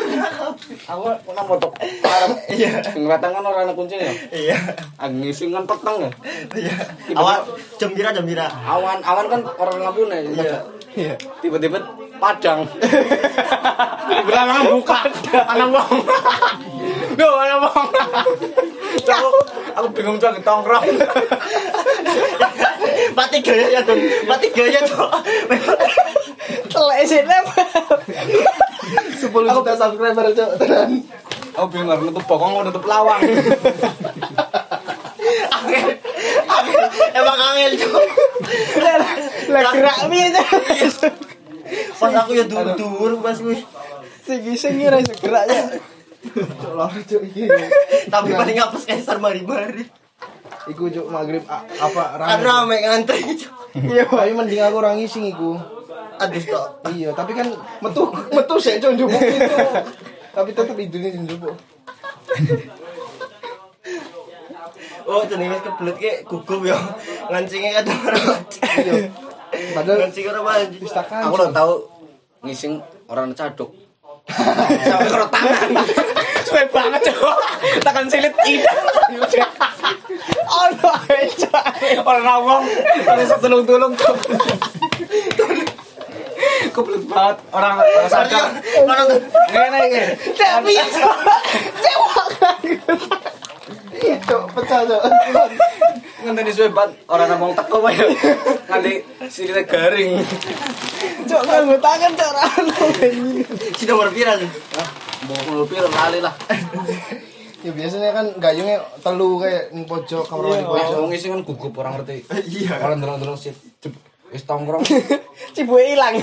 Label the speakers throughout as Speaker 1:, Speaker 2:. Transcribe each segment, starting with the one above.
Speaker 1: Aku pernah foto arep
Speaker 2: Iya.
Speaker 1: ngeratang kan orang anak kuncing ya.
Speaker 2: Iya.
Speaker 1: Angisi kan peteng ya.
Speaker 2: Iya. Awal jembira jembira.
Speaker 1: Awan awan kan orang ngapun ya.
Speaker 2: Iya. Iya.
Speaker 1: Tiba-tiba padang. Berangan buka. Anak wong. Duh, anak wong. Aku, aku bingung cok tongkrong.
Speaker 2: Mati gaya ya tuh. Mati gaya tuh.
Speaker 3: Telek sih lem.
Speaker 1: 10 juta subscriber cok. Aku bingung harus nutup bokong mau nutup lawang.
Speaker 2: Angel. Angel. Emang angel tuh.
Speaker 3: Lah gerak piye ta?
Speaker 2: Pas aku ya dur dur pas wih.
Speaker 3: Sing iseng ora iso gerak ya.
Speaker 4: Cuk lor cuk iki.
Speaker 2: Tapi paling ngapus kesar mari-mari.
Speaker 4: Iku cuk maghrib a- apa
Speaker 2: Kan
Speaker 4: rame.
Speaker 2: rame ngantri. Cuk.
Speaker 4: Iya, tapi mending aku orang ngising iku.
Speaker 2: Aduh tok.
Speaker 4: Iya, tapi kan metu metu sik cuk njupuk itu. Tapi tetep idune njupuk.
Speaker 2: Oh, jenenge kebelet ki gugup ya. Ngancinge kata orang.
Speaker 4: Iya. Padahal
Speaker 2: Ngancing ora mandi.
Speaker 4: pustakaan.
Speaker 1: Aku lo tahu ngising orang caduk.
Speaker 2: Sampai karo tangan.
Speaker 3: Suwe banget cok. Tekan silit ida. Ono aja.
Speaker 1: Orang awam, orang setulung tulung tuh. Kebelet banget orang orang sadar.
Speaker 2: Ono tuh.
Speaker 1: Ngene iki.
Speaker 3: Tak bisa. Cewek.
Speaker 4: Cuk pecah cuk.
Speaker 1: Ngenteni suwe banget orang ngomong teko wae. Nganti sirine garing.
Speaker 3: Cok nganggo tangan cok ra anu. ono.
Speaker 2: Si nomor pira tuh?
Speaker 1: Mau mobil lali lah.
Speaker 4: Ya biasanya kan gayungnya telu kayak ning pojok kamar
Speaker 3: Iya.
Speaker 4: mandi pojok.
Speaker 1: Wong ngising kan gugup orang ngerti.
Speaker 2: Iya.
Speaker 1: Orang ndelok-ndelok sit. Jep, Wis tongkrong.
Speaker 3: Cibuke ilang.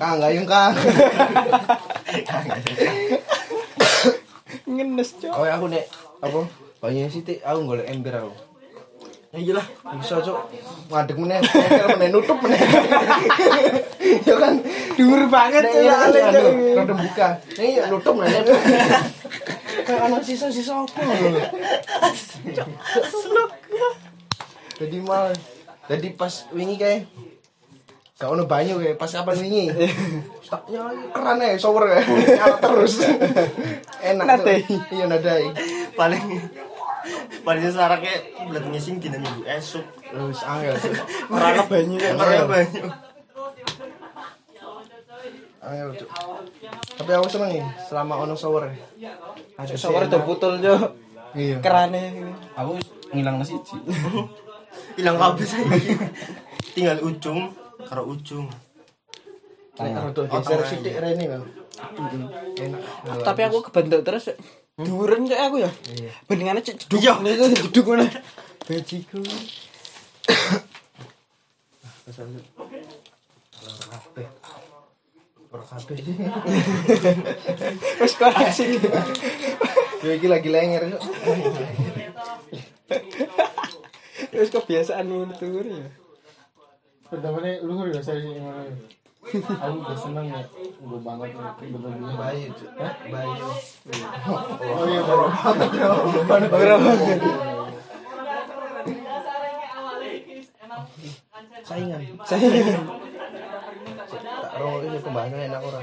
Speaker 3: Ah,
Speaker 4: Kang gayung kang.
Speaker 3: Ngenes cok.
Speaker 4: Oh aku nek apa? Banyak sih Tik. aku golek ember aku.
Speaker 2: Ya iyalah.
Speaker 4: Bisa cuk ngadeg meneh, nyekel meneh nutup meneh. Ya kan
Speaker 3: Dur banget
Speaker 4: nek
Speaker 3: cok.
Speaker 4: iya kan
Speaker 3: soalnya,
Speaker 4: aduh,
Speaker 3: Cok.
Speaker 4: rada buka. Nek iya nutup meneh. Kayak ana sisa-sisa apa lho. Jadi mal jadi pas wingi kayak Gak ono banyu kayak pas kapan wingi. Staknya keren ya, shower kayak nyala terus. Enak. Cuk.
Speaker 3: Nadai.
Speaker 4: Iya nadai.
Speaker 2: Paling paling saraknya kebelet ngising dina minggu esuk.
Speaker 4: Terus angel. Cuk.
Speaker 2: Ora banyu, ora banyu.
Speaker 4: Angel, Cuk. Tapi aku seneng ya selama ono shower. ya.
Speaker 3: Cok, Sawar do putul cok.
Speaker 4: Iya.
Speaker 3: Kerane.
Speaker 1: Aku ngilang nasi siji.
Speaker 2: Hilang kabeh saiki. Tinggal ujung karo ujung.
Speaker 4: Nek rada geser sithik rene lho. Enak.
Speaker 3: Ah,
Speaker 4: Hmm?
Speaker 3: Tapi aku kebentuk terus. Cok. Duren cok aku ya. Bendingannya cok jeduk.
Speaker 2: Iya.
Speaker 3: Itu jeduk ngono.
Speaker 4: bajiku. Ora kabeh.
Speaker 3: Wis kok asik.
Speaker 4: Yo iki lagi lenger. Cuk.
Speaker 3: Wis kebiasaan ngono tur ya.
Speaker 5: pertamanya lu nggak biasa sih gimana aku udah seneng ya gue banget nih bener-bener
Speaker 4: Bayu, Cuk. Bayu.
Speaker 5: oh iya baru
Speaker 4: Saingan.
Speaker 3: Saya
Speaker 4: Tak ro ini pembahasan enak ora.